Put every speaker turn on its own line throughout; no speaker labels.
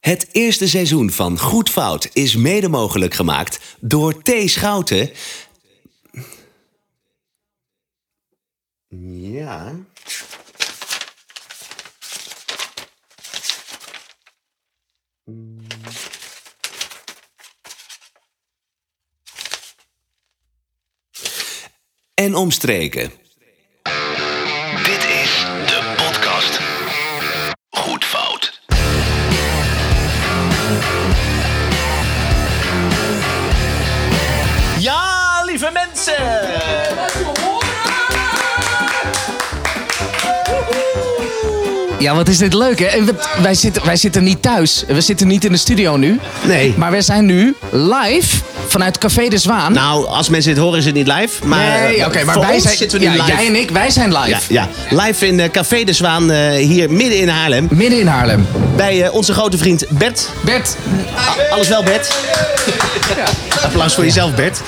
Het eerste seizoen van Goed Fout is mede mogelijk gemaakt door T. Schouten. Ja. En omstreken.
Dit is de podcast. Goed fout.
Ja, lieve mensen!
Ja, wat is dit leuk, hè? En wat- Wij zitten, wij zitten niet thuis. We zitten niet in de studio nu.
Nee.
Maar we zijn nu live vanuit Café de Zwaan.
Nou, als mensen dit horen is het niet live. Maar
nee,
eh,
oké, maar
voor
wij
ons
zijn,
zitten we nu
ja,
live.
Jij en ik, wij zijn live.
ja, ja, live in eh, Café de Zwaan eh, hier midden in Haarlem.
Midden in Haarlem.
Bij eh, onze grote vriend Bert.
Bert,
A- alles wel, Bert? Applaus voor jezelf, Bert.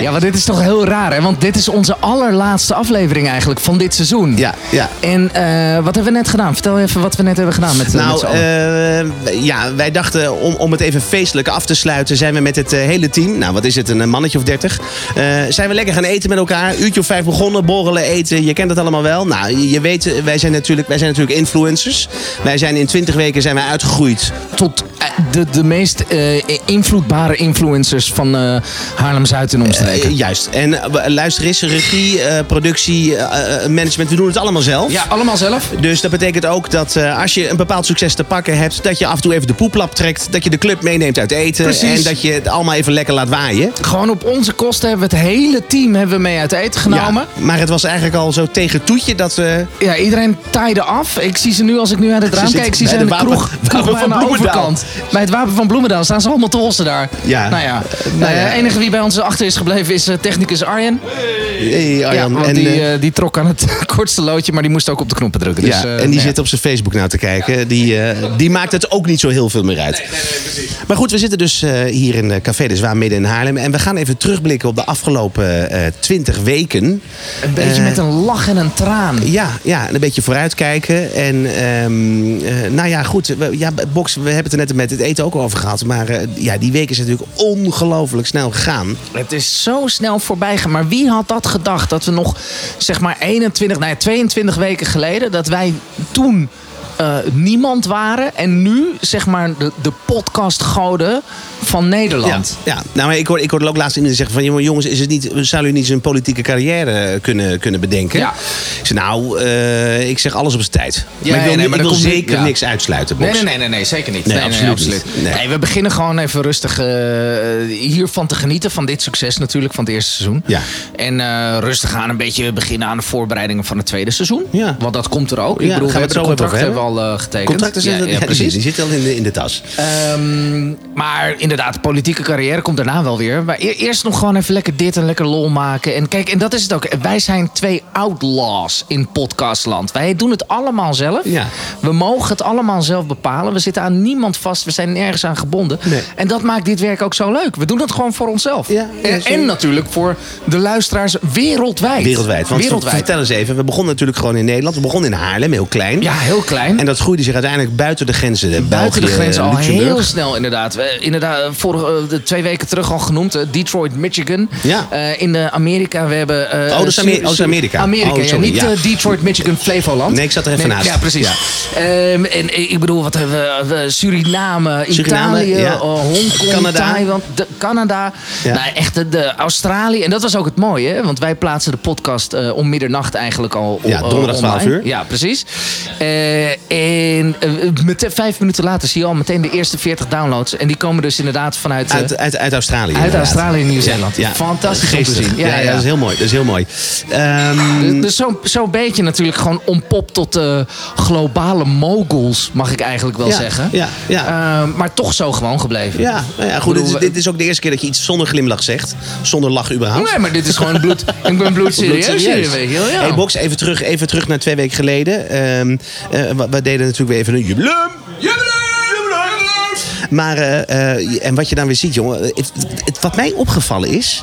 ja, maar dit is toch heel raar, hè? Want dit is onze allerlaatste aflevering eigenlijk van dit seizoen.
Ja, ja.
En eh, wat hebben we net gedaan? Vertel even wat we net hebben gedaan met, eh, met
Nou,
z'n allen.
eh, ja, wij dachten om, om het even feestelijk af te sluiten... zijn we met het eh, hele team, nou wat is het, een eh, mannetje of dertig... eh, zijn we lekker gaan eten met elkaar. Uurtje of vijf begonnen, borrelen, eten. Je kent dat allemaal wel. Nou, je- je weet, eh, wij zijn natuurlijk, wij zijn natuurlijk influencers. Wij zijn in twintig weken zijn wij uitgegroeid.
Tot eh, de, de meest eh, invloedbare influencers van eh, Haarlem-Zuid en omstreken.
Eh, juist. En eh, we- luister eens, regie, eh, productie, eh, eh, management, we doen het allemaal zelf.
ja, allemaal zelf.
Dus dat betekent ook dat eh, als je een bepaald succes te pakken hebt, dat je af en toe even de poeplap trekt. Dat je de club meeneemt uit eten.
Precies.
En dat je het allemaal even lekker laat waaien.
Gewoon op onze kosten hebben we het hele team hebben we mee uit eten genomen.
Ja, maar het was eigenlijk al zo tegen toetje dat we.
Ja, iedereen taaide af. Ik zie ze nu als ik nu uit het raam
zitten
kijk. Ik zie ze
bij
in
de
de
wapen-
kroeg,
wapen
kroeg
van
aan de
Bloemendaal.
overkant. Bij het wapen van Bloemendaal staan ze allemaal te holsten daar.
Ja.
Nou ja,
Nou ja.
Eh, enige wie bij ons achter is gebleven is eh, technicus Arjen.
Hey,
Ja,
Arjan.
want
en,
die,
eh,
eh, die trok aan het kortste loodje, maar die moest ook op de knoppen drukken. Dus,
ja,
eh,
en die
nou ja.
zit op zijn Facebook nou te kijken. Die, eh, die maakt het ook niet zo heel veel meer uit. Maar goed, we zitten dus eh, hier in eh, Café de Zwaan midden in Haarlem. En we gaan even terugblikken op de afgelopen eh, twintig weken.
Een beetje
eh,
met een lach en een traan.
Ja, ja, en een beetje vooruitkijken. En ehm, eh, nou ja, goed. We, ja, Box, we hebben het er net met het eten ook over gehad. Maar eh, ja, die week is natuurlijk ongelooflijk snel gegaan.
Het is zo snel voorbij gegaan. Maar wie had dat gedacht? Dat we nog zeg maar 21, nou ja, 22 weken geleden, dat wij toen eh, niemand waren. En nu zeg maar de, de podcastgoden van Nederland.
Ja, ja. nou maar ik hoorde, ik hoorde ook laatst iemand zeggen van... "Jongen, jongens, is het niet, zouden jullie niet zijn politieke carrière eh, kunnen, kunnen bedenken?
Ja.
Ik zeg, nou, eh, ik zeg alles op zijn tijd.
Ja,
maar ik wil, niet-
nee, maar
ik
dat
wil
komt niet-
zeker
ja.
niks uitsluiten, Box.
Nee, nee, nee, nee, nee, zeker niet.
Nee, absoluut niet. Nee.
Nee, we beginnen gewoon even rustig eh, hiervan te genieten. Van dit succes natuurlijk, van het eerste seizoen.
Ja.
En eh, rustig aan een beetje beginnen aan de voorbereidingen van het tweede seizoen.
Ja.
Want dat komt er ook. Ik
Ja,
bedoel,
gaan
we
we
hebben de
het zo even over
contracten hebben we al eh, getekend.
Contracten zitten, ja, precies. Die zitten al in de, in de tas.
Ehm, maar inderdaad, politieke carrière komt daarna wel weer. Maar e- eerst nog gewoon even lekker dit en lekker lol maken. En kijk, en dat is het ook. Wij zijn twee outlaws in podcastland. Wij doen het allemaal zelf.
Ja.
We mogen het allemaal zelf bepalen. We zitten aan niemand vast. We zijn nergens aan gebonden.
Nee.
En dat maakt dit werk ook zo leuk. We doen het gewoon voor onszelf.
Ja, ja,
en,
zeker.
en natuurlijk voor de luisteraars wereldwijd.
Wereldwijd. Want
Wereldwijd.
vertel eens even, we begonnen natuurlijk gewoon in Nederland. We begonnen in Haarlem, heel klein.
Ja, heel klein.
En dat groeide zich uiteindelijk buiten de grenzen. eh,
Buiten de
België,
grens al
Luxemburg.
heel snel, inderdaad. We- inderdaad vorige, eh, de twee weken terug al genoemd. eh, Detroit, Michigan.
Ja.
Eh, in eh, Amerika, we hebben... eh,
Oh, dat is
Su-
Ameri- oh, dat is
Su-
Amerika.
Amerika,
Oh,
ja,
sorry,
Niet
ja.
eh, Detroit, Michigan, Flevoland.
Nee, ik zat er even naast.
Ja, precies. Ehm, en eh, ik bedoel, wat hebben we? Eh, Suriname,
Suriname,
Italië,
ja.
eh, Hongkong,
Canada.
Taiwan, de- Canada.
Ja.
Nou, echt de, de Australië. En dat was ook het mooie, hè, want wij plaatsen de podcast eh, om middernacht eigenlijk al
Ja,
eh,
donderdag 12
online.
uur.
Ja, precies. Eh, en eh, meteen, vijf minuten later zie je al meteen de eerste 40 downloads. En die komen dus inderdaad vanuit... eh,
Uit, uit, uit Australië.
uit
inderdaad.
Australië en Nieuw-Zeeland. Fantastisch om te
Geestig.
zien.
Ja,
Ja,
ja,
ja.
dat is heel mooi. Dat is heel mooi. Ehm,
dus dus zo'n zo beetje natuurlijk gewoon ontpopt tot eh, globale moguls, mag ik eigenlijk wel
Ja,
zeggen.
ja, ja.
Eh, maar toch zo gewoon gebleven.
ja, nou ja, goed.
Bedoel,
Dit is,
we-
dit is ook de eerste keer dat je iets zonder glimlach zegt. Zonder lach überhaupt.
eh, Nee, maar dit is gewoon bloed. ik ben bloedserieus. hier, weet je wel, ja.
Hey Box, even terug, even terug naar twee weken geleden. Ehm, eh, we, we deden natuurlijk weer even een jubileum. Jubileum! Maar, eh, eh, en wat je dan weer ziet, jongen. het- het- wat mij opgevallen is.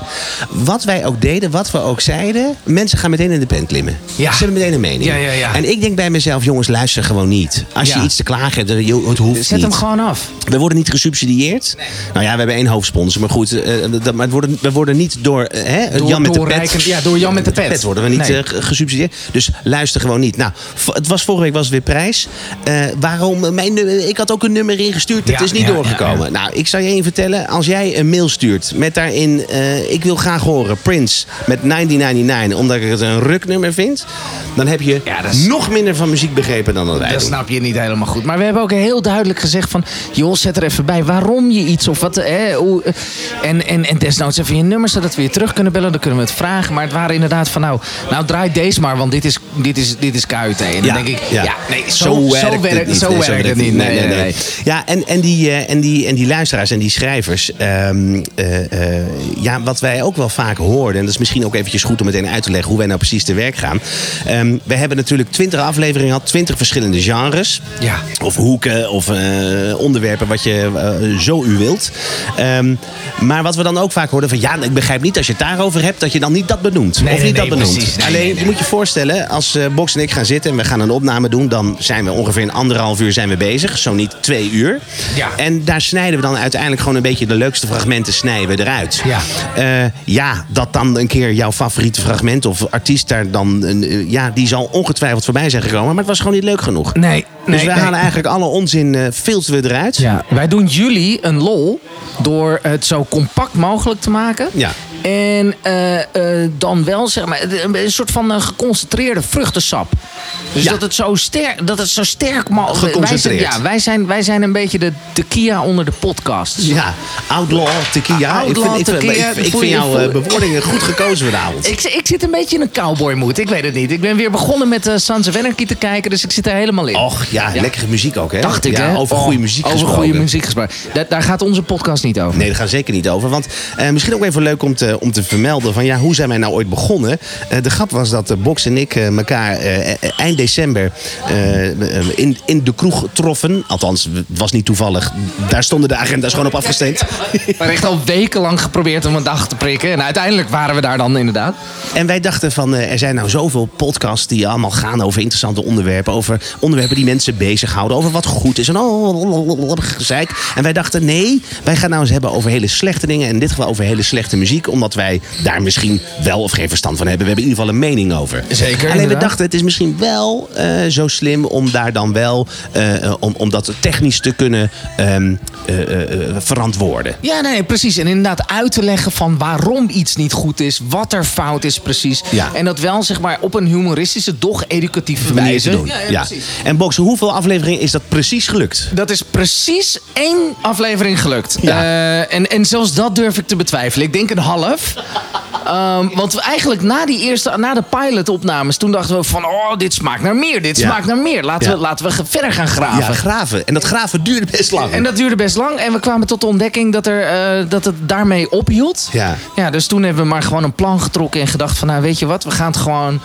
Wat wij ook deden, wat we ook zeiden. Mensen gaan meteen in de pen klimmen.
Ja.
Ze hebben meteen een mening.
Ja, ja, ja.
En ik denk bij mezelf, jongens, luister gewoon niet. Als
Ja.
je iets te klagen hebt, eh, joh, het hoeft
Zet
niet.
hem gewoon af.
We worden niet gesubsidieerd. Nou ja, we hebben één hoofdsponsor. Maar goed, eh, dat, maar het worden, we worden niet door, eh, hè,
Door-
Jan met de
door
pet.
rijken- ja, door Jan met de pet.
worden we niet
Nee.
eh, ge- gesubsidieerd. Dus luister gewoon niet. Nou, v- het was vorige week was het weer prijs. Eh, waarom? Mijn, nummer- ik had ook een nummer ingestuurd. Dat
Ja,
is niet
ja,
doorgekomen.
ja,
Nou, ik zal je één vertellen. Als jij een mail stuurt met daarin... eh, ik wil graag horen Prince met 1999... omdat ik het een ruknummer vind... dan heb je
Ja, dat is-
nog minder van muziek begrepen dan dat wij
Dat
doen.
snap je niet helemaal goed. Maar we hebben ook heel duidelijk gezegd van... joh, zet er even bij waarom je iets of wat... Hè, hoe, eh, en, en, en desnoods even je nummer, zodat we je terug kunnen bellen. Dan kunnen we het vragen. Maar het waren inderdaad van nou, nou draai deze maar, want dit is, dit is, dit is KUT. En dan
Ja,
denk ik, ja,
ja.
nee, zo, zo werkt het niet. Zo
Nee,
werkt het niet.
Nee, nee, nee. Ja, en, en, die, eh, en, die, en die luisteraars en die schrijvers. ehm, eh, eh, ja, wat wij ook wel vaak hoorden. En dat is misschien ook eventjes goed om meteen uit te leggen hoe wij nou precies te werk gaan. Ehm, we hebben natuurlijk twintig afleveringen gehad, twintig verschillende genres.
Ja.
Of hoeken of eh, onderwerpen wat je eh, zo u wilt. Ehm, maar wat we dan ook vaak hoorden van ja, ik begrijp niet als je het daarover hebt dat je dan niet dat benoemt.
Nee,
of
nee,
niet
nee,
dat benoemt.
precies. Nee,
Alleen
nee,
je
nee.
moet je voorstellen, als eh Box en ik gaan zitten en we gaan een opname doen, dan zijn we ongeveer een anderhalf uur zijn we bezig, zo niet twee uur.
Ja.
En daar snijden we dan uiteindelijk gewoon een beetje de leukste fragmenten snijden we eruit.
Ja.
Eh, ja, dat dan een keer jouw favoriete fragment of artiest daar dan, een, eh, ja, die zal ongetwijfeld voorbij zijn gekomen, maar het was gewoon niet leuk genoeg.
Nee,
Dus
nee,
wij
nee.
halen eigenlijk alle onzin, eh filteren we eruit.
Ja, wij doen jullie een lol door het zo compact mogelijk te maken.
Ja.
En eh, eh, dan wel, zeg maar, een- een soort van eh, geconcentreerde vruchtensap. Dus
Ja.
dat, het zo sterk, dat het zo sterk mogelijk...
Geconcentreerd.
Wij zijn, ja, wij zijn, wij zijn een beetje de, de Kia onder de podcasts.
Ja, Outlaw Tequila.
Ah,
ik vind,
Outlaw
ik vind,
Tequila,
ik vind- ik
voel
vind
je-
jouw eh,
voel-
bewoordingen goed gekozen vanavond.
Ik, ik zit een beetje in een cowboy mood. Ik weet het niet. Ik ben weer begonnen met eh Sons of Anarchy te kijken, dus ik zit er helemaal in.
Och ja,
Ja.
lekkere muziek ook, hè?
Dacht ik,
ja,
hè?
Over
Oh,
goede muziek
Over
gesproken.
goede muziek gesproken. Daar, daar gaat onze podcast niet over.
Nee, daar gaan we zeker niet over. Want eh, misschien ook even leuk om te, om te vermelden van ja, hoe zijn wij nou ooit begonnen? Eh, de grap was dat eh, Box en ik eh, elkaar eh, eh, eind december eh, eh, in, in de kroeg troffen. Althans, het was niet toevallig. Daar stonden de agenda's gewoon op afgestemd.
We hebben echt al wekenlang geprobeerd om een dag te prikken. En uiteindelijk waren we daar dan inderdaad.
En wij dachten van, eh, er zijn nou zoveel podcasts die allemaal gaan over interessante onderwerpen. Over onderwerpen die mensen bezighouden. Over wat goed is. En oh, gezeik. En wij dachten, nee, wij gaan nou eens hebben over hele slechte dingen. En in dit geval over hele slechte muziek. Omdat wij daar misschien wel of geen verstand van hebben. We hebben in ieder geval een mening over.
Zeker,
Alleen we
inderdaad.
dachten, het is misschien wel eh, zo slim om daar dan wel, eh, eh, om, om dat technisch te kunnen ehm, eh, eh, eh, verantwoorden.
Ja, nee, precies. En inderdaad uit te leggen van waarom iets niet goed is. Wat er fout is precies.
Ja.
En dat wel zeg maar op een humoristische, doch educatieve
Manier te
wijze.
doen. En Box, hoeveel afleveringen is dat precies gelukt?
Dat is precies één aflevering gelukt.
Ja.
Eh, en, en zelfs dat durf ik te betwijfelen. Ik denk een half. Ehm, want we eigenlijk na die eerste, na de pilotopnames, toen dachten we van, oh, dit smaakt naar meer, dit
Ja.
smaakt naar meer. Laten,
Ja.
we, laten we ge- verder gaan graven.
Ja, graven. En dat graven duurde best lang.
En dat duurde best lang. En we kwamen tot de ontdekking dat, er, eh, dat het daarmee ophield.
Ja.
ja. Dus toen hebben we maar gewoon een plan getrokken en gedacht van... nou, weet je wat, we gaan het gewoon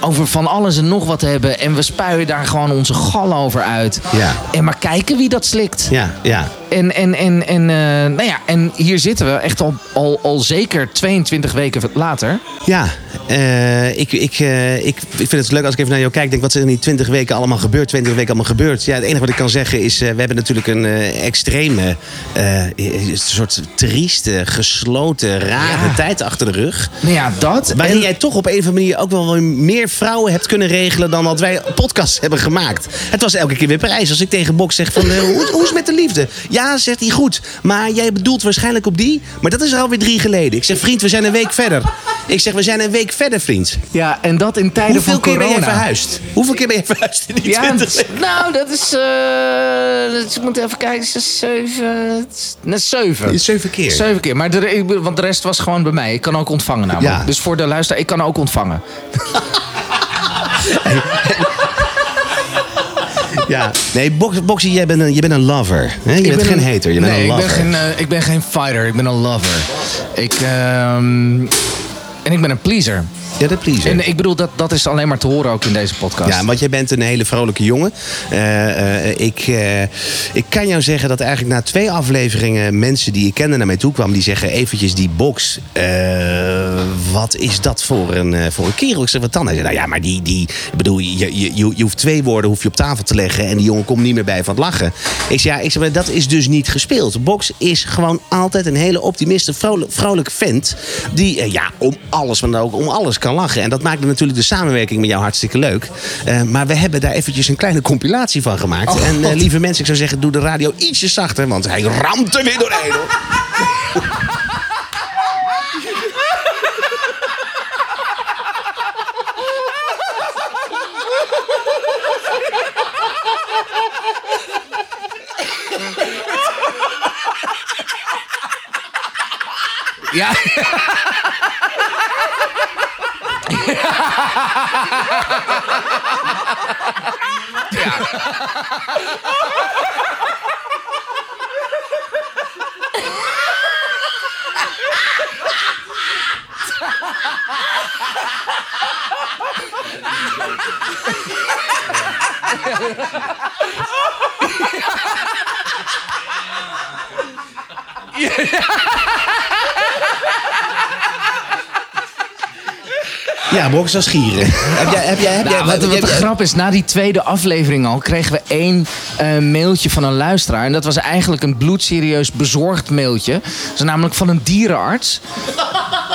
over van alles en nog wat hebben. En we spuien daar gewoon onze gal over uit.
Ja.
En maar kijken wie dat slikt.
Ja, ja.
En, en, en, en, eh, nou ja, en hier zitten we echt al, al, al zeker 22 weken later.
Ja, eh, ik, ik, eh, ik, ik vind het leuk als ik even naar jou kijk. Denk, wat is er in die 20 weken allemaal gebeurd? 20 weken allemaal gebeurd. Ja, het enige wat ik kan zeggen is, eh, we hebben natuurlijk een eh, extreme, eh, eh, soort trieste, gesloten, rare
Ja.
tijd achter de rug.
Nou ja, dat.
Waarin
en-
jij toch op een of andere manier ook wel weer meer vrouwen hebt kunnen regelen dan dat wij podcasts hebben gemaakt. Het was elke keer weer prijs. Als ik tegen Bok zeg van, eh, hoe, hoe is het met de liefde? Ja, zegt hij, goed. Maar jij bedoelt waarschijnlijk op die. Maar dat is er alweer drie geleden. Ik zeg, vriend, we zijn een week verder. Ik zeg, we zijn een week verder, vriend.
ja, en dat in tijden
Hoeveel
van
keer
corona.
ben jij verhuisd? Hoeveel keer ben je verhuisd in die
Ja,
20 weken?
nou, dat is. eh, dat is- ik moet even kijken, het is zeven. Net
Het
zeven.
is Zeven keer.
Zeven keer, maar de, re- ik bedoel, want de rest was gewoon bij mij. Ik kan ook ontvangen namelijk.
Ja.
Dus voor de luisteraar, ik kan ook ontvangen.
Ja. Nee, Bok- Boxy, jij bent een, jij bent een lover. hè? Je bent geen hater, je bent
nee,
een lover.
Ik ben, geen, eh, ik ben geen fighter, ik ben een lover. Ik, ehm, en ik ben een pleaser.
Ja, de pleaser.
En ik bedoel, dat, dat is alleen maar te horen ook in deze podcast.
Ja, want jij bent een hele vrolijke jongen. Eh, eh, ik, eh, ik kan jou zeggen dat eigenlijk na twee afleveringen mensen die ik kende naar mij toe kwamen, die zeggen eventjes die box. eh, wat is dat voor een, eh, voor een kerel? Ik zeg wat dan? Hij zei, nou ja, maar die, die ik bedoel, je, je, je, je hoeft twee woorden hoef je op tafel te leggen en die jongen komt niet meer bij van het lachen. Ik zei, ja, ik zeg, maar dat is dus niet gespeeld. Box is gewoon altijd een hele optimiste, vrolijk, vrolijke vent die eh, ja, om alles, maar dan ook om alles kan lachen. En dat maakt natuurlijk de samenwerking met jou hartstikke leuk. Eh, maar we hebben daar eventjes een kleine compilatie van gemaakt. en eh, lieve mensen, ik zou zeggen, doe de radio ietsje zachter, want hij ramt er weer doorheen. hoor.
Ja.
Ja, Box was gieren. heb jij, heb jij, heb jij,
Nou, wat,
heb
wat de
jij-
grap is, na die tweede aflevering al kregen we één eh, mailtje van een luisteraar. En dat was eigenlijk een bloedserieus bezorgd mailtje. Dat is namelijk van een dierenarts.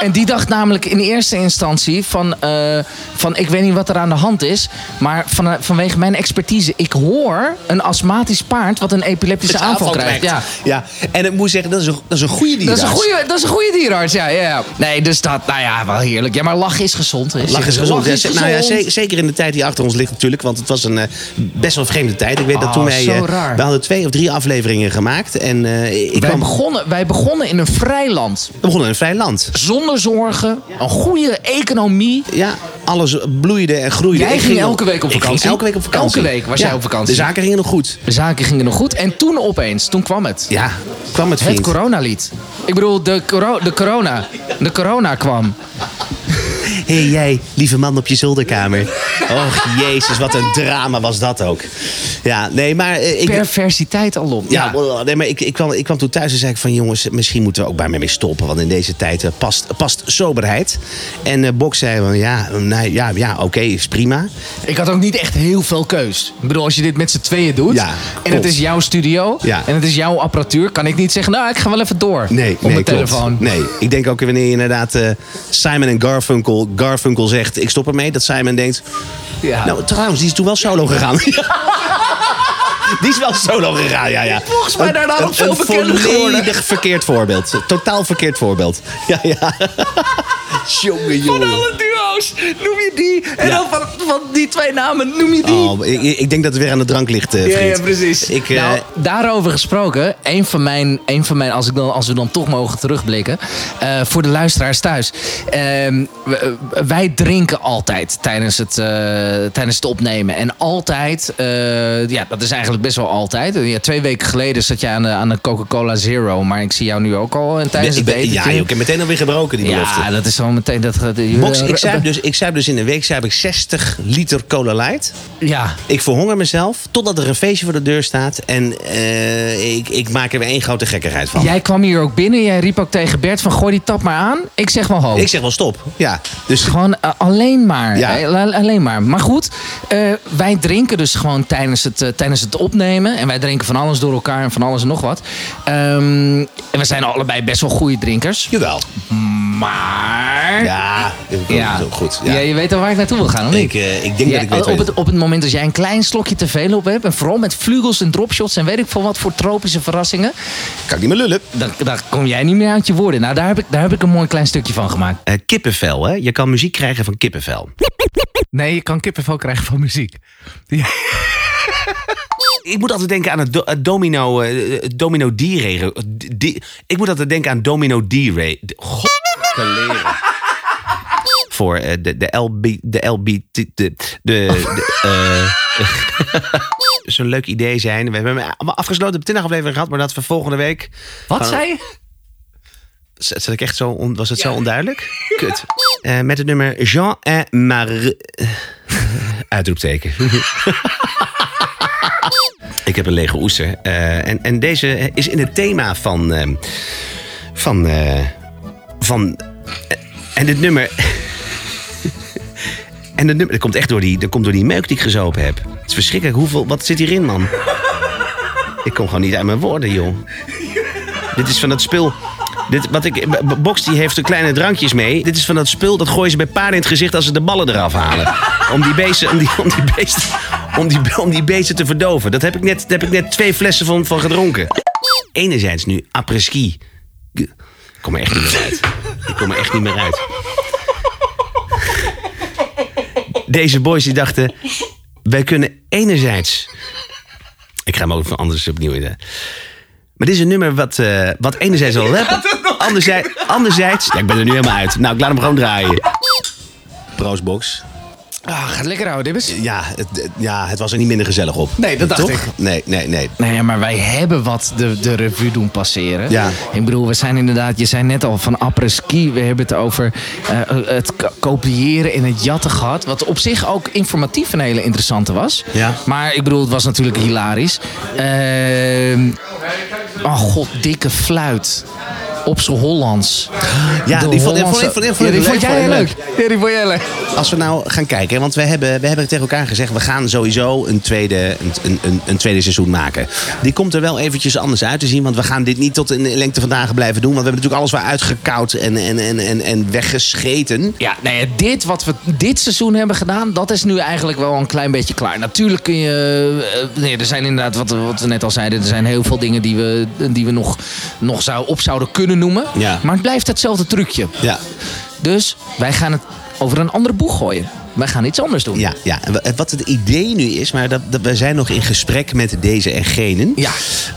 En die dacht namelijk in eerste instantie van, eh, van ik weet niet wat er aan de hand is. Maar van, eh, vanwege mijn expertise, ik hoor een astmatisch paard wat een epileptische
Aanval
aanval krijgt.
krijgt.
Ja.
Ja. En ik moet zeggen, dat is een, dat is een goede
Dat is, een
dierarts.
goede, dat is een goede dierenarts, ja, ja, ja. Nee, dus dat, nou ja, wel heerlijk. Ja, maar lachen is gezond. hè.
Lach is gezond.
Lachen
hè? nou ja, ze- zeker in de tijd die achter ons ligt natuurlijk. Want het was een eh, best wel vreemde tijd. Ik weet dat
Ah,
toen wij...
zo
eh,
raar.
we hadden twee of drie afleveringen gemaakt. En eh, ik
Wij
kwam...
begonnen, wij begonnen in een vrij land.
We begonnen in een vrij land.
Zonder zorgen, een goede economie.
Ja, alles bloeide en groeide.
Jij
Ik
ging elke week op
ik ging
vakantie?
elke week op vakantie.
Elke week was jij op vakantie?
De zaken gingen nog goed.
De zaken gingen nog goed. En toen opeens, toen kwam het.
Ja, kwam het
Het
vriend.
coronalied. Ik bedoel, de, coro- de corona. De corona kwam.
Hé hey, jij, lieve man op je zolderkamer. Och, jezus, wat een drama was dat ook. Ja, nee, maar eh, ik...
Perversiteit alom.
Ja, wel, nee, maar ik, ik, kwam, ik kwam toen thuis en zei ik van... jongens, misschien moeten we ook bij mij mee stoppen. Want in deze tijd eh, past, past soberheid. En eh Bok zei van ja, nee, ja, ja oké, is prima.
Ik had ook niet echt heel veel keus. Ik bedoel, als je dit met z'n tweeën doet.
Ja,
en
klopt.
het is jouw studio.
Ja.
En het is jouw apparatuur. Kan ik niet zeggen, nou, ik ga wel even door.
Nee,
op
nee,
mijn
klopt.
telefoon.
Nee, ik denk ook wanneer je inderdaad eh, Simon en Garfunkel, Garfunkel zegt... ik stop ermee, dat Simon denkt...
Ja.
nou, trouwens, die is toen wel solo gegaan. Die is wel solo gegaan, ja, ja.
Volgens mij daarna nog veel bekender
Een
geworden.
volledig verkeerd voorbeeld. Totaal verkeerd voorbeeld. Ja, ja. Jongen, jongen.
duo's noem je die. En
Ja.
dan van, van die twee namen noem je die.
Oh, ik, ik denk dat het weer aan de drank ligt, eh,
Ja,
vriend.
ja, precies.
Ik, eh,
nou, daarover gesproken, een van mijn, een van mijn als, ik dan, als we dan toch mogen terugblikken, eh, voor de luisteraars thuis. Ehm, w- eh, wij drinken altijd tijdens het, eh, tijdens het opnemen. En altijd, eh, ja, dat is eigenlijk best wel altijd. Ja, twee weken geleden zat jij aan de, aan de Coca-Cola Zero, maar ik zie jou nu ook al en tijdens
ik
het
ben,
daten.
ja, joh, ik heb meteen alweer gebroken, die belofte.
ja, dat is zo meteen dat. dat-
Box,
eh,
ik zuip, dus, ik zuip dus in een week zuip ik 60 liter cola light.
Ja,
Ik verhonger mezelf totdat er een feestje voor de deur staat. En eh, ik, ik maak er weer één grote gekkigheid van.
jij kwam hier ook binnen. Jij riep ook tegen Bert van gooi die tap maar aan. Ik zeg wel ho.
Ik zeg wel stop. Ja, dus
Gewoon eh, alleen maar.
Ja.
Eh, la- alleen maar. Maar goed, eh, wij drinken dus gewoon tijdens het, eh, tijdens het opnemen. En wij drinken van alles door elkaar en van alles en nog wat. Ehm, en we zijn allebei best wel goede drinkers.
jawel.
Maar...
Ja, dat
Ja.
is ook goed. Ja.
Ja, je weet al waar ik naartoe wil gaan, of
Ik,
niet?
eh, ik denk
Ja, oh,
dat ik weet
op,
wat-
het, op het moment dat jij een klein slokje te veel op hebt... en vooral met vlugels en dropshots en weet ik veel wat voor tropische verrassingen...
Kan ik niet meer lullen.
dan, dan kom jij niet meer uit je woorden. Nou, daar heb ik, daar heb ik een mooi klein stukje van gemaakt.
Eh, kippenvel, hè? Je kan muziek krijgen van kippenvel.
Nee, je kan kippenvel krijgen van muziek.
Ik moet altijd denken aan het, do- het domino, eh, het domino D-regen. Ik moet altijd denken aan domino D-ray. de- God. Voor eh, de, de LB... De LB... De... de, de eh, Zo'n leuk idee zijn. We hebben hem afgesloten. We hebben 20 afleveringen gehad, maar dat we volgende week...
Wat zei je?
Zat zat ik echt zo on- was het zo onduidelijk? Kut. Eh, met het nummer Jean en Marie. Uitroepteken. ik heb een lege oester. Eh, en, en deze is in het thema van. ehm, van. eh, van. eh, en dit nummer. en het nummer. Dat komt echt door die, dat komt door die meuk die ik gezopen heb. Het is verschrikkelijk hoeveel. Wat zit hierin, man? ik kom gewoon niet uit mijn woorden, joh. Dit is van dat spul. Dit, wat ik, B- Box die heeft er kleine drankjes mee. Dit is van dat spul dat gooien ze bij paarden in het gezicht als ze de ballen eraf halen. Om die beesten, om die, om die beesten, om die, om die beesten te verdoven. Dat heb ik net, daar heb ik net twee flessen van, van gedronken. Enerzijds nu apres-ski. Ik kom er echt niet meer uit. Ik kom er echt niet meer uit. Deze boys die dachten, wij kunnen enerzijds... Ik ga hem ook van anders opnieuw in. Maar dit is een nummer wat, eh, wat enerzijds wel rappen, anderzijds... anderzijds ja, ik ben er nu helemaal uit. Nou, ik laat hem gewoon draaien. Proostbox.
Ah, gaat lekker houden, Dibbes.
Ja het, het- ja, het was er niet minder gezellig op.
Nee, dat dacht
Toch?
ik.
Nee, nee, nee.
Nou ja, maar wij hebben wat de, de revue doen passeren.
Ja.
Ik bedoel, we zijn inderdaad, je zei net al van après ski. We hebben het over eh, het k- kopiëren en het jatten gehad. Wat op zich ook informatief een hele interessante was.
Ja.
Maar ik bedoel, het was natuurlijk hilarisch. Ehm, oh god, dikke fluit. Op z'n Hollands.
Ja,
De
die vond- die vond ik-
Hollandse-
vond ik- vond ik
Ja, die
leuk,
vond jij heel
vond ik
leuk. Ja, die vond jij leuk.
Als we nou gaan kijken, hè, want we hebben, we hebben tegen elkaar gezegd... we gaan sowieso een tweede, een, een- een, een tweede seizoen maken. Die komt er wel eventjes anders uit te zien... want we gaan dit niet tot in lengte van dagen blijven doen... want we hebben natuurlijk alles weer uitgekoud en, en, en, en, en weggescheten.
Ja, nou ja, dit wat we dit seizoen hebben gedaan, dat is nu eigenlijk wel een klein beetje klaar. Natuurlijk kun je. eh, nee, er zijn inderdaad, wat, wat we net al zeiden, er zijn heel veel dingen die we, die we nog, nog zou, op zouden kunnen noemen.
Ja.
Maar het blijft hetzelfde trucje.
Ja,
Dus wij gaan het over een andere boeg gooien. Wij gaan iets anders doen.
Ja, ja. En wa- en wat het idee nu is, maar dat, dat, we zijn nog in gesprek met deze en genen.
Ja.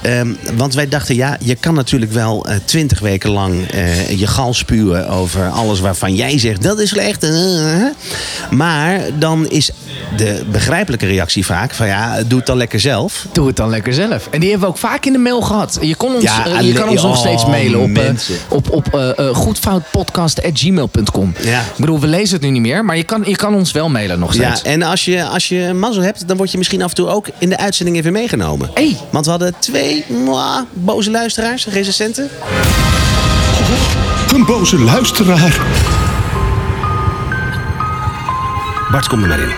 Ehm, want wij dachten, ja, je kan natuurlijk wel eh, twintig weken lang eh, je gal spuwen over alles waarvan jij zegt dat is slecht. eh, eh. maar dan is de begrijpelijke reactie vaak van ja, doe het dan lekker zelf.
Doe het dan lekker zelf. En die hebben we ook vaak in de mail gehad. Je, kon ons,
Ja,
eh, je
alleen-
kan ons nog
oh,
steeds mailen op, eh,
mensen.
op, op eh, eh, goedfoutpodcast.gmail.com.
Ja.
Ik bedoel, we lezen het nu niet meer, maar je kan, je kan ons wel mailen nog steeds.
Ja, en als je, als je mazzel hebt, dan word je misschien af en toe ook in de uitzending even meegenomen.
Hey.
Want we hadden twee mwah, boze luisteraars, recensenten.
Een boze luisteraar.
Bart, kom er maar in.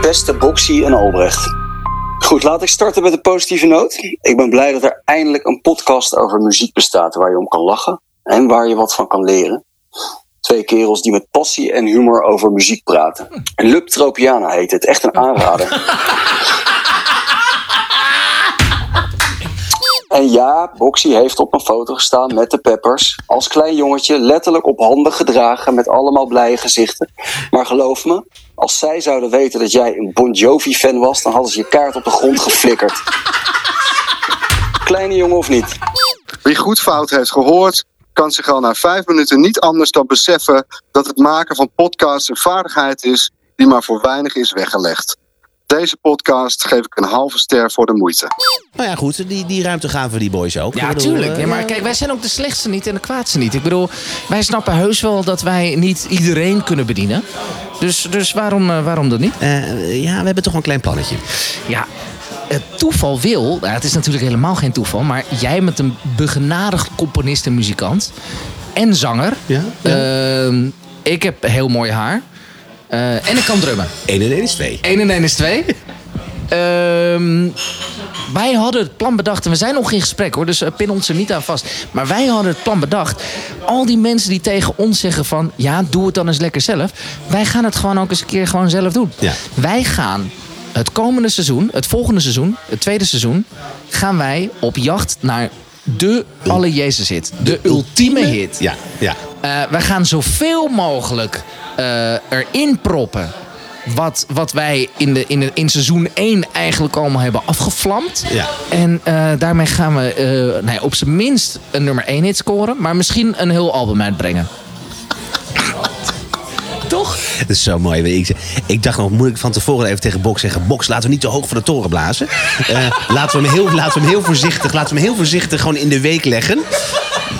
Beste Boxy en Albrecht. Goed, laat ik starten met een positieve noot. Ik ben blij dat er eindelijk een podcast over muziek bestaat waar je om kan lachen en waar je wat van kan leren. Twee kerels die met passie en humor over muziek praten. Lub Tropiana heet het, echt een aanrader. En ja, Boxy heeft op een foto gestaan met de Peppers. Als klein jongetje, letterlijk op handen gedragen met allemaal blije gezichten. Maar geloof me, als zij zouden weten dat jij een Bon Jovi-fan was, dan hadden ze je kaart op de grond geflikkerd. Kleine jongen of niet?
Wie goed fout heeft gehoord, kan zich al na vijf minuten niet anders dan beseffen dat het maken van podcasts een vaardigheid is die maar voor weinig is weggelegd. Deze podcast geef ik een halve ster voor de moeite.
Nou ja, goed, die, die ruimte gaven we die boys ook.
Ja,
Ik bedoel,
tuurlijk.
eh,
Ja, maar kijk, wij zijn ook de slechtste niet en de kwaadste niet. Ik bedoel, wij snappen heus wel dat wij niet iedereen kunnen bedienen. Dus, dus waarom, eh, waarom dat niet?
eh, ja, we hebben toch wel een klein plannetje.
Ja, het toeval wil... Nou, het is natuurlijk helemaal geen toeval... maar jij met een begenadigd componist en muzikant... en zanger.
Ja,
Ehm, ik heb heel mooi haar. Eh, en ik kan drummen.
1 en 1 is 2.
1 en 1 is 2. Ehm, wij hadden het plan bedacht, en we zijn nog in gesprek hoor, dus eh, pin ons er niet aan vast. Maar wij hadden het plan bedacht. Al die mensen die tegen ons zeggen van, ja, doe het dan eens lekker zelf. Wij gaan het gewoon ook eens een keer gewoon zelf doen.
Ja.
Wij gaan het komende seizoen, het volgende seizoen, het tweede seizoen, gaan wij op jacht naar de alle Jezus hit. De ultieme hit.
Ja, ja.
Eh, wij gaan zoveel mogelijk eh, erin proppen. Wat, wat wij in, de, in, de, in seizoen 1 eigenlijk allemaal hebben afgevlamd.
Ja.
En eh, daarmee gaan we eh, nou ja, op zijn minst een nummer 1 hit scoren. Maar misschien een heel album uitbrengen. Toch?
Dat is zo mooi. Ik, ik dacht nog, moet ik van tevoren even tegen Box zeggen... Box, laten we niet te hoog voor de toren blazen. Eh, laten, we hem heel, laten we hem heel voorzichtig... Laten we hem heel voorzichtig gewoon in de week leggen.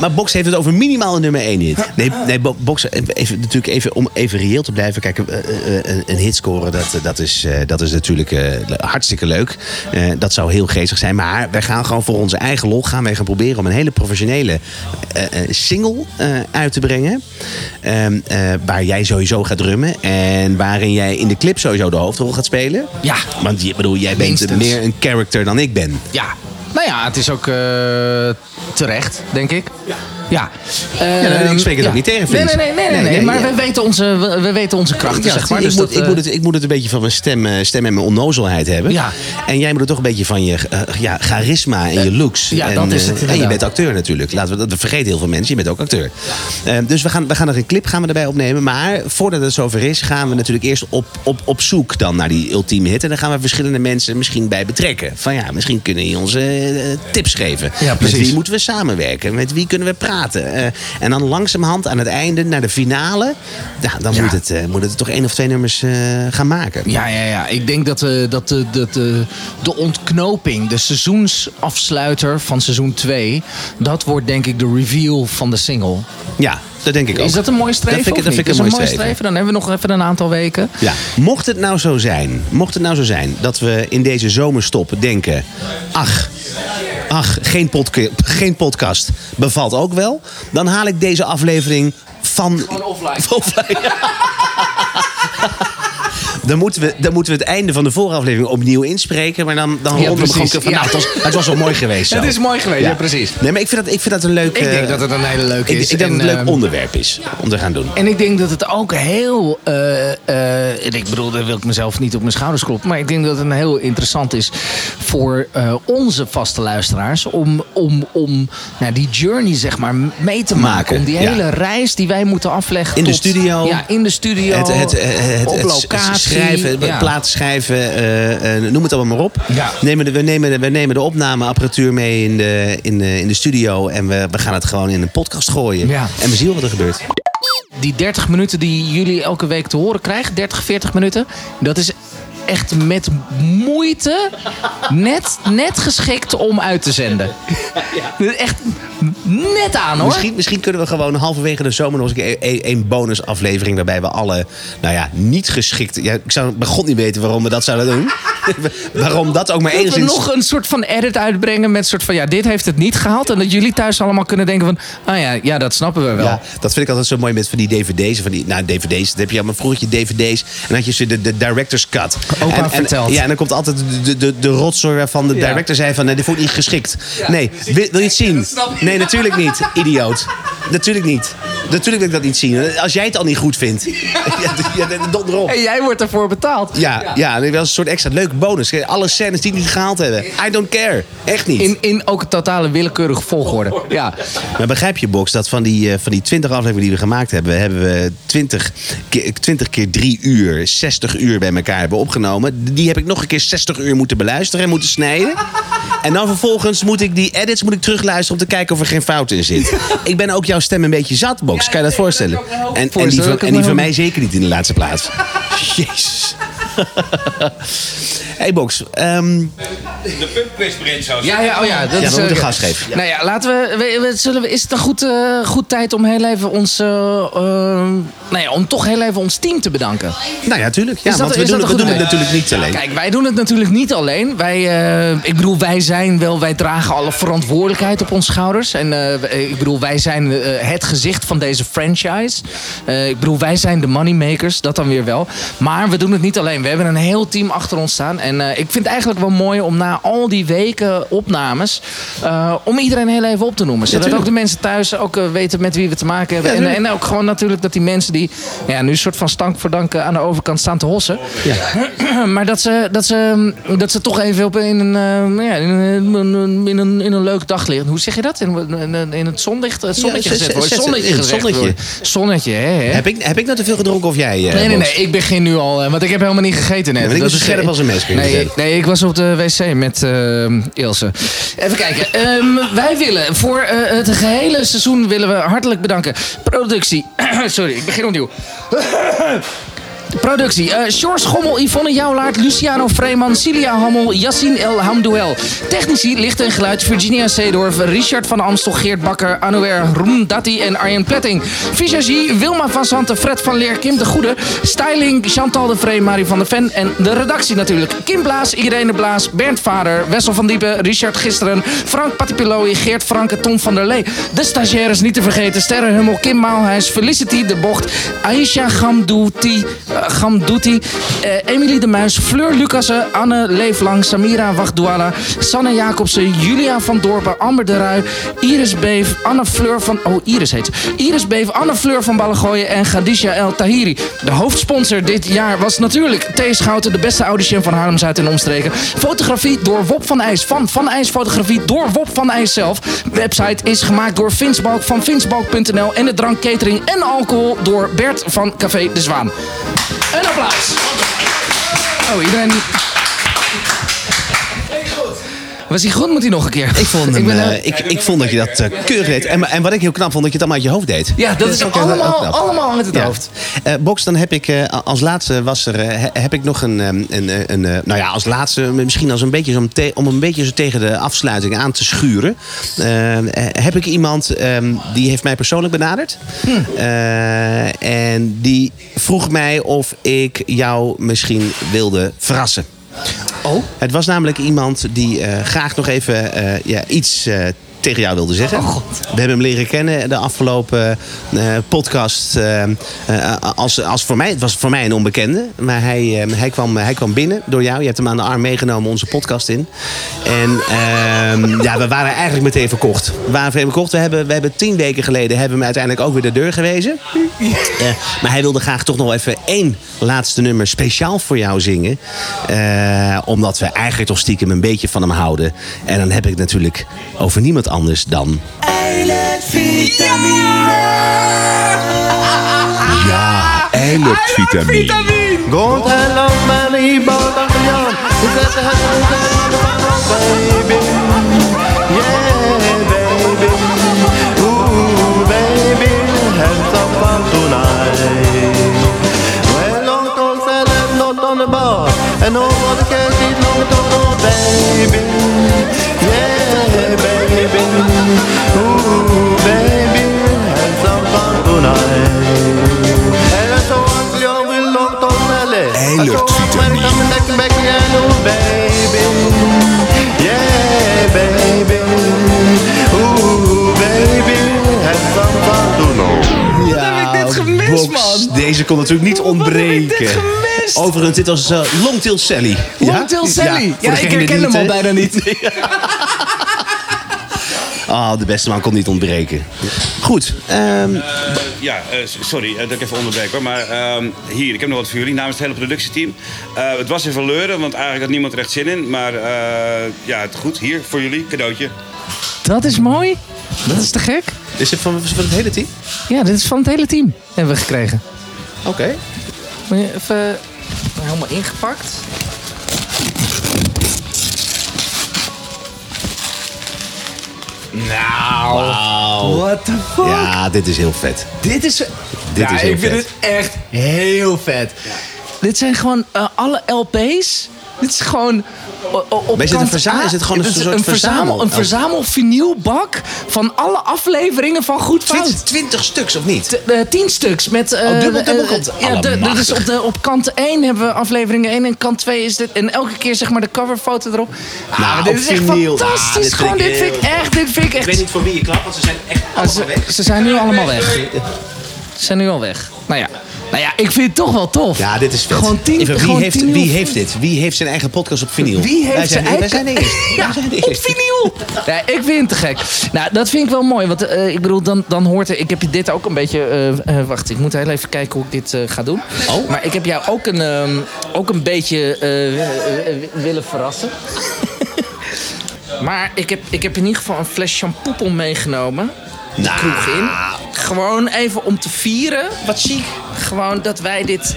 Maar Box heeft het over minimaal een nummer 1 hit. Nee, nee Bo- Box, even, natuurlijk even, om even reëel te blijven. Kijk, eh, eh, eh, een hit scoren, dat, eh, dat, is, eh, dat is natuurlijk eh, hartstikke leuk. Eh, dat zou heel geestig zijn. Maar wij gaan gewoon voor onze eigen lol gaan wij gaan proberen om een hele professionele eh, eh, single eh, uit te brengen. Ehm, eh, waar jij sowieso gaat drummen. En waarin jij in de clip sowieso de hoofdrol gaat spelen.
Ja.
Want je, bedoel, jij bent
Minstens.
meer een character dan ik ben.
Ja. Nou ja, het is ook eh, terecht, denk ik. Ja. Ja,
nou, ik spreek het
Ehm,
ook niet tegen,
Nee,
Felix.
nee, nee, nee,
Nee,
nee,
nee,
maar
ja.
we, weten onze, we, we weten onze krachten,
Ja,
zeg maar.
ik,
Dus
moet,
dat,
ik,
eh,
moet het, ik moet het een beetje van mijn stem, eh, stem en mijn onnozelheid hebben.
Ja.
En jij moet het toch een beetje van je eh, ja, charisma en je looks.
ja,
en,
dat is
eh,
het,
En je
inderdaad.
bent acteur natuurlijk. Laten we, dat dat vergeten heel veel mensen. Je bent ook acteur. Eh, dus we gaan, we gaan er een clip gaan we erbij opnemen. Maar voordat het zover is, gaan we natuurlijk eerst op, op, op zoek dan naar die ultieme hit. En dan gaan we verschillende mensen misschien bij betrekken. Van ja, misschien kunnen die ons eh, eh, tips geven.
Ja,
Met
precies.
wie moeten we samenwerken? Met wie kunnen we praten? Eh, en dan langzamerhand aan het einde, naar de finale. Nou, dan
Ja.
moet, het, eh, moet het toch één of twee nummers eh, gaan maken.
Ja, ja, ja. Ik denk dat, eh, dat, eh, dat eh, de ontknoping, de seizoensafsluiter van seizoen 2... dat wordt denk ik de reveal van de single.
Ja, dat denk ik ook.
Is dat een mooie streven
Dat vind ik,
of
dat
niet?
vind ik
Is
een
dat
mooie streven.
Dan hebben we nog even een aantal weken.
Ja. Mocht het nou zo zijn, mocht het nou zo zijn dat we in deze zomerstop denken, ach, ach, geen, podca- geen podcast bevalt ook wel, dan haal ik deze aflevering van
offline.
offline. Dan moeten, we, dan moeten we het einde van de vorige aflevering opnieuw inspreken. Maar dan, dan ronden we gewoon
precies.
van...
Ja.
Nou, het, was, het was wel mooi geweest zo.
Het is mooi geweest, ja, precies.
Nee, maar ik vind dat, ik vind dat een leuk...
Ik denk
eh,
dat het een hele leuke
ik,
is.
ik denk dat
En,
het een leuk
ehm,
onderwerp is om te gaan doen.
En ik denk dat het ook heel. eh, eh, en ik bedoel, daar wil ik mezelf niet op mijn schouders kloppen. Maar ik denk dat het een heel interessant is voor eh, onze vaste luisteraars. Om, om, om nou, die journey, zeg maar, mee te maken.
Maken,
om die
ja.
hele reis die wij moeten afleggen.
In de
tot-
studio.
Ja, in de studio.
Het, het, het, het,
op
het
locatie.
schrijven, het
ja.
platen schrijven, eh, eh, noem het allemaal maar op.
Ja.
Nemen de- we, nemen de, we nemen de opnameapparatuur mee in de, in de, in de studio en we, we gaan het gewoon in een podcast gooien.
Ja.
En we zien wel wat er gebeurt.
die 30 minuten die jullie elke week te horen krijgen, 30, 40 minuten, dat is echt met moeite net, net geschikt om uit te zenden. Echt net aan hoor.
Misschien, misschien kunnen we gewoon halverwege de zomer nog eens een bonusaflevering waarbij we alle, nou ja, niet geschikt. Ja, ik zou bij god niet weten waarom we dat zouden doen. waarom dat ook maar
Dat we
enigszins.
nog een soort van edit uitbrengen met soort van ja, dit heeft het niet gehaald. En dat jullie thuis allemaal kunnen denken van, ah ja, ja dat snappen we wel.
Ja, dat vind ik altijd zo mooi met van die dvd's. en Van die, nou, dvd's, dat heb je allemaal vroeger had je dvd's. En dan had je ze de, de director's cut.
Opa
en, en-
vertelt.
Ja, en dan komt altijd de, de, de, de rotzooi waarvan de
Ja.
director zei van... Nee, dit vond ik niet geschikt. nee, wil, wil je het zien? Nee, natuurlijk niet, idioot. Natuurlijk niet. Natuurlijk wil ik dat niet zien. Als jij het al niet goed vindt. Ja, ja, donder op.
En jij wordt ervoor betaald.
Ja, ja. ja, en wel een soort extra leuke bonus. Alle scènes die het niet gehaald hebben. I don't care. Echt niet.
In, in ook een totale willekeurige volgorde. Ja.
Maar begrijp je, Box, dat van die, eh, van die 20 afleveringen die we gemaakt hebben, hebben eh, we 20 keer, 20 keer 3 uur, 60 uur bij elkaar hebben opgenomen. Die heb ik nog een keer 60 uur moeten beluisteren en moeten snijden. En dan vervolgens moet ik die edits moet ik terugluisteren om te kijken of er geen fout in zit. Ik ben ook jouw stem een beetje zat, Box. kan je dat voorstellen? En, en, die,
voorstellen.
van,
Kan
en die
ik me
van
heel-
mij zeker niet in de laatste plaats. Jezus. hey, Box. ehm,
De pumpquizprint zou
Ja, ja, oh ja, dat
Ja,
is,
we moeten
eh,
gas geven.
Nou ja, laten we, we- we- zullen we, is het een goed, eh, goed tijd om heel even ons, eh, eh, nou ja, om toch heel even ons team te bedanken?
nou ja, tuurlijk. Ja,
Is dat-
want we
is
doen,
dat
het- we
een
doen
goed
het
idee?
natuurlijk niet alleen.
Kijk, wij doen het natuurlijk niet alleen. Wij, eh, ik bedoel, wij zijn wel, wij dragen alle verantwoordelijkheid op onze schouders. En eh, ik bedoel, wij zijn eh, het gezicht van deze franchise. Eh, ik bedoel, wij zijn de moneymakers, dat dan weer wel. Maar we doen het niet alleen. We hebben een heel team achter ons staan. En eh, ik vind het eigenlijk wel mooi om na al die weken opnames, eh, om iedereen heel even op te noemen. Zodat ook de mensen thuis ook eh, weten met wie we te maken hebben. en, en ook gewoon natuurlijk dat die mensen die ja, nu een soort van stank voor dank eh, aan de overkant staan te hossen. Maar dat ze, dat ze, mm, dat ze toch even op in, een, eh, nou ja, in, een, in, een, in een leuk daglicht. Hoe zeg je dat? In, in, in het zonlicht, het zonnetje
Ja, zet-
gezet worden.
zet-
Zonnetje
in het
gezet
zonnetje.
worden. Zonnetje, hè? hè?
Heb ik, heb ik nou te veel gedronken of jij? eh,
Nee, nee,
Box?
nee, ik begin nu al, eh, want ik heb helemaal niet gegeten net.
Ja, maar ik was
is
scherp als een mes, kun je
Nee,
vertellen.
nee, ik was op de wc met eh, Ilse. Even kijken. Ehm, wij willen voor eh, het gehele seizoen willen we hartelijk bedanken. Productie. Sorry, ik begin opnieuw. Productie. eh Sjors Gommel, Yvonne Jouwlaert, Luciano Vreeman, Cilia Hammel, Yassine El Hamdouel. Technici, licht en geluid, Virginia Seedorf, Richard van Amstel, Geert Bakker, Anouer Roemdati en Arjen Pletting. Visagie, Wilma van Santen, Fred van Leer, Kim de Goede. Styling, Chantal de Vree, Marie van der Ven. En de redactie natuurlijk. Kim Blaas, Irene Blaas, Bernd Vader, Wessel van Diepen, Richard Gisteren, Frank Patipiloi, Geert Franke, Tom van der Lee. De stagiaires niet te vergeten, Sterrenhummel, Kim Maalhuis, Felicity de Bocht, Aisha Gamdouti, eh, Gamdouti eh, Emily de Muis, Fleur Lucassen, Anne Leeflang, Samira Wachtdouala, Sanne Jacobsen, Julia van Dorpen, Amber de Rui, Iris Beef, Anne Fleur van... Oh, Iris heet ze. Iris Beef, Anne Fleur van Ballengooien en Khadija El Tahiri. De hoofdsponsor dit jaar was natuurlijk T. Schouten, de beste audition van Haarlem-Zuid en omstreken. Fotografie door Wop van IJs, van Van IJs Fotografie door Wop van IJs zelf. Website is gemaakt door Vinsbalk van vinsbalk.nl en de drank catering en alcohol door Bert van Café De Zwaan. Een applaus. Oh, iedereen... Was hij goed? Moet hij nog een keer?
Ik vond, hem,
ben,
eh,
eh,
ik, ik vond dat je dat eh, keurig deed. En, en wat ik heel knap vond, dat je het allemaal uit je hoofd deed.
Ja, dat is
ook heel- heel
allemaal,
knap.
allemaal uit het
Ja.
hoofd.
Eh, Box, dan heb ik eh, als laatste was er, eh, he- heb ik nog een, ehm, een, eh, een, eh, nou ja, als laatste misschien als een beetje zo om te- om een beetje zo tegen de afsluiting aan te schuren, eh, eh, heb ik iemand ehm, die heeft mij persoonlijk benaderd Eh, en die vroeg mij of ik jou misschien wilde verrassen.
Oh?
Het was namelijk iemand die eh, graag nog even eh, ja, iets eh, tegen jou wilde zeggen. We hebben hem leren kennen de afgelopen eh, podcast. eh, eh, als, als voor mij, het was voor mij een onbekende. Maar hij, eh, hij, kwam, hij kwam binnen door jou. Je hebt hem aan de arm meegenomen onze podcast in. En ehm, ja, we waren eigenlijk meteen verkocht. We waren meteen verkocht. We hebben, we hebben tien weken geleden hebben we hem uiteindelijk ook weer de deur gewezen. Eh, maar hij wilde graag toch nog even één laatste nummer speciaal voor jou zingen. Eh, omdat we eigenlijk toch stiekem een beetje van hem houden. En dan heb ik het natuurlijk over niemand anders dan.
Eindelijk vitamine.
And nobody can eat no dodo, baby. Yeah, baby. Ooh, baby, have some fun tonight. En als zo als je al wil nog tot nelle.
Eindelijk vitamine.
back and oh baby. Yeah baby. Ooh baby. Have some fun tonight.
Ja,
heb ik dit gemist, man?
Deze kon natuurlijk niet ontbreken.
heb ik dit gemist?
Overigens, dit was eh, Long Till Sally.
Long Till Sally. Ja,
voor
ik
degene
herken
die
hem
het,
al
eh,
bijna niet.
Ah, de beste man kon niet ontbreken. Goed, ehm,
ja, eh, s- sorry eh, dat ik even onderbreek hoor. Maar ehm, hier, ik heb nog wat voor jullie namens het hele productieteam. Eh, het was even leuren, want eigenlijk had niemand er echt zin in. Maar eh, ja, het goed. Hier, voor jullie, cadeautje.
Dat is mooi. Dat is te gek.
is het van, van het hele team?
Ja, dit is van het hele team. Hebben we gekregen.
Oké.
Moet je even helemaal ingepakt. Nou, what the fuck?
Ja, dit is heel vet.
Dit is, dit
is heel
ik vind
vet.
het echt heel vet. Dit zijn gewoon eh, alle LP's. Dit is gewoon o- o- op
Maar is het
kant
een verza-
A-
is het gewoon een
dit
soort verzamel- Oh.
Een verzamel vinylbak van alle afleveringen van Goed Fout.
20 stuks of niet?
T- eh, tien stuks met... eh,
Oh, dubbel,
eh,
dubbel kant.
eh, Ja, de-
Allemachtig.
dus op, de, op kant 1 hebben we afleveringen 1 en kant 2 is dit. En elke keer zeg maar de coverfoto erop. Ah,
Nou,
dit
op
is echt
vinyl.
fantastisch.
Ah, dit vind
gewoon,
ik
dit vind ik
heel-
echt, dit vind ik echt...
Ik weet niet voor wie je klapt, want ze zijn echt
Ah,
allemaal
ze,
weg.
ze zijn nu allemaal weg. Ze zijn nu al weg. Nou ja, nou ja ik vind het toch wel tof.
Ja, dit is vet.
Gewoon tien,
Even, wie
gewoon
heeft,
tien
wie
uur-
heeft dit? Wie heeft zijn eigen podcast op vinyl?
Wie heeft
wij zijn,
zijn
de-
eigen-
Wij zijn de eerste.
Ja,
Wij zijn de
op
eerste.
vinyl. Ja, ik vind het te gek. Nou, dat vind ik wel mooi. Want eh, ik bedoel, dan, dan hoort er... Ik heb je dit ook een beetje... eh, eh, wacht, ik moet heel even kijken hoe ik dit eh, ga doen. Oh. Maar ik heb jou ook een, ehm, ook een beetje eh, eh, eh, willen verrassen. maar ik heb, ik heb in ieder geval een fles shampoepel meegenomen. De
Nou.
kroeg in. Gewoon even om te vieren. Wat chic. Gewoon dat wij dit...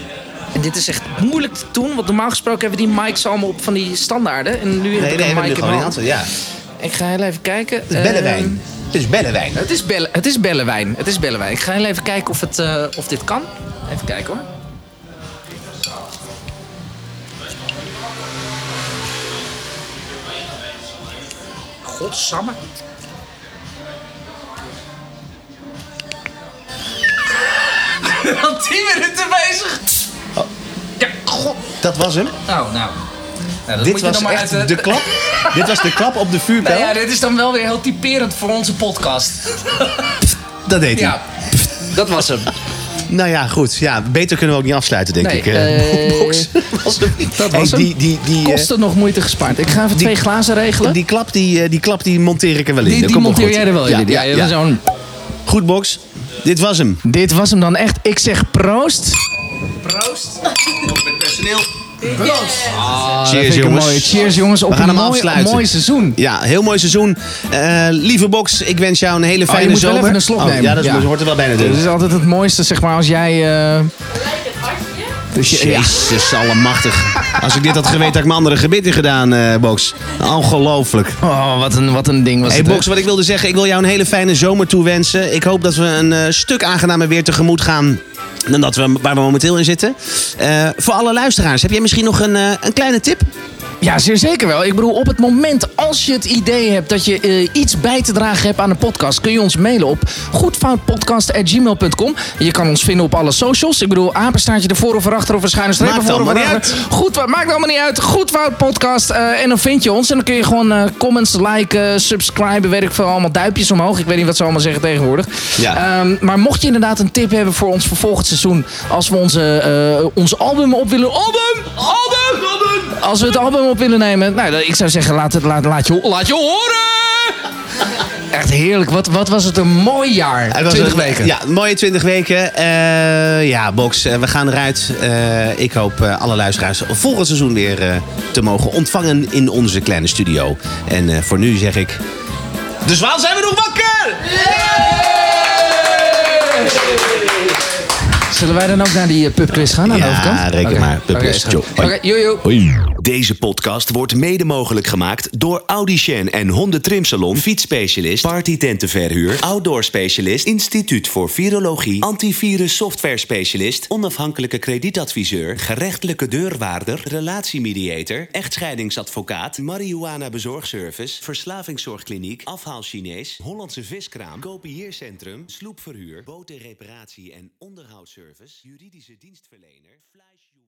En dit is echt moeilijk te doen, want normaal gesproken hebben die mics allemaal op van die standaarden. En nu heb
Nee, nee,
ik
we
een
hebben
mic
nu
in
gewoon
mijn
een
hand.
aantal. Ja.
Ik ga heel even kijken. Eh,
Het is bellenwijn. Het is bellenwijn.
het, is bellen, het is bellenwijn. Het is bellenwijn. Ik ga heel even kijken of, het, eh, of dit kan. Even kijken hoor.
Godsamme.
Al tien minuten bezig.
Ja, god.
Dat was hem.
Nou, nou. Nou,
Dit
dat moet je
was
dan maar
echt
uit,
de
eh,
klap. Dit was de klap op de vuurpijl.
Nou ja, dit is dan wel weer heel typerend voor onze podcast.
Dat deed hij.
Ja, dat was hem.
Nou ja, goed. Ja, beter kunnen we ook niet afsluiten, denk
Nee,
ik. eh,
eh,
box. was hem.
Dat
Hey,
was hem.
die, die, die, eh,
Kosten nog moeite gespaard. Ik ga even
die-
twee glazen regelen.
die klap, die, eh, die klap die monteer ik er wel in.
Die,
Dat
die
komt wel
monteer
goed.
jij er wel Nou, in. Ja, ja, Zo'n,
Goed, Box. Dit was hem.
dit was hem dan echt. Ik zeg proost. Ah, dat
Cheers,
vind ik een
jongens.
mooie. Cheers jongens op
We gaan
een
hem
mooi,
afsluiten.
mooi seizoen.
Ja, heel mooi seizoen. Eh, lieve Box, ik wens jou een hele fijne
moet wel
zomer.
even een slok
Oh,
nemen.
Ja, dat
Ja.
hoort er wel bijna
Het
natuurlijk.
is altijd het mooiste, zeg maar, als jij... eh, dus je- ja.
Jezus, allemachtig. Als ik dit had geweten, had ik mijn andere gebit in gedaan, eh, Box. Ongelooflijk.
Oh, wat een, wat een ding was
Hey
het.
Box, wat ik wilde zeggen, ik wil jou een hele fijne zomer toewensen. Ik hoop dat we een eh, stuk aangenamer weer tegemoet gaan dan dat we, waar we momenteel in zitten. Eh, voor alle luisteraars, heb jij misschien nog een, eh, een kleine tip?
Ja, zeer zeker wel. Ik bedoel, op het moment als je het idee hebt dat je eh, iets bij te dragen hebt aan de podcast, kun je ons mailen op goedfoutpodcast.gmail.com. Je kan ons vinden op alle socials. Ik bedoel, apenstaartje ervoor of erachter of een schuine streep
Maakt
ervoor of
allemaal niet
erachter. Goed, wa- maakt allemaal niet uit. Goed Fout Podcast. eh, en dan vind je ons. En dan kun je gewoon eh, comments liken, subscriben, weet ik veel. Allemaal duimpjes omhoog. Ik weet niet wat ze allemaal zeggen tegenwoordig.
Ja.
Ehm, maar mocht je inderdaad een tip hebben voor ons voor volgend seizoen. Als we onze, eh, ons album op willen... Album! Album! Album! Als we het album op willen nemen. Nou, dan- ik zou zeggen, laat, het, laat, laat, je, laat je horen! Echt heerlijk. Wat, wat was het een mooi jaar.
Het was
20
een-
weken.
Ja, mooie 20 weken. Eh, ja, Box, eh, we gaan eruit. Eh, ik hoop eh, alle luisteraars volgend seizoen weer eh, te mogen ontvangen in onze kleine studio. En eh, voor nu zeg ik... Dus waar zijn we nog wakker?
Zullen wij dan ook naar die eh, pubquiz gaan aan de
Ja,
overkant?
reken
Oké.
maar. Pubquiz.
Oké, is
Tjo,
goed.
hoi.
Oké, jojo.
Deze podcast wordt mede mogelijk gemaakt door Audicien en Honden Trimsalon, fietsspecialist, partytentenverhuur, outdoor specialist, instituut voor virologie, antivirus software specialist, onafhankelijke kredietadviseur, gerechtelijke deurwaarder, relatiemediator, echtscheidingsadvocaat, marihuana bezorgservice, verslavingszorgkliniek, afhaal Chinees, Hollandse viskraam, kopieercentrum, sloepverhuur, botenreparatie en onderhoudsservice, juridische dienstverlener, flash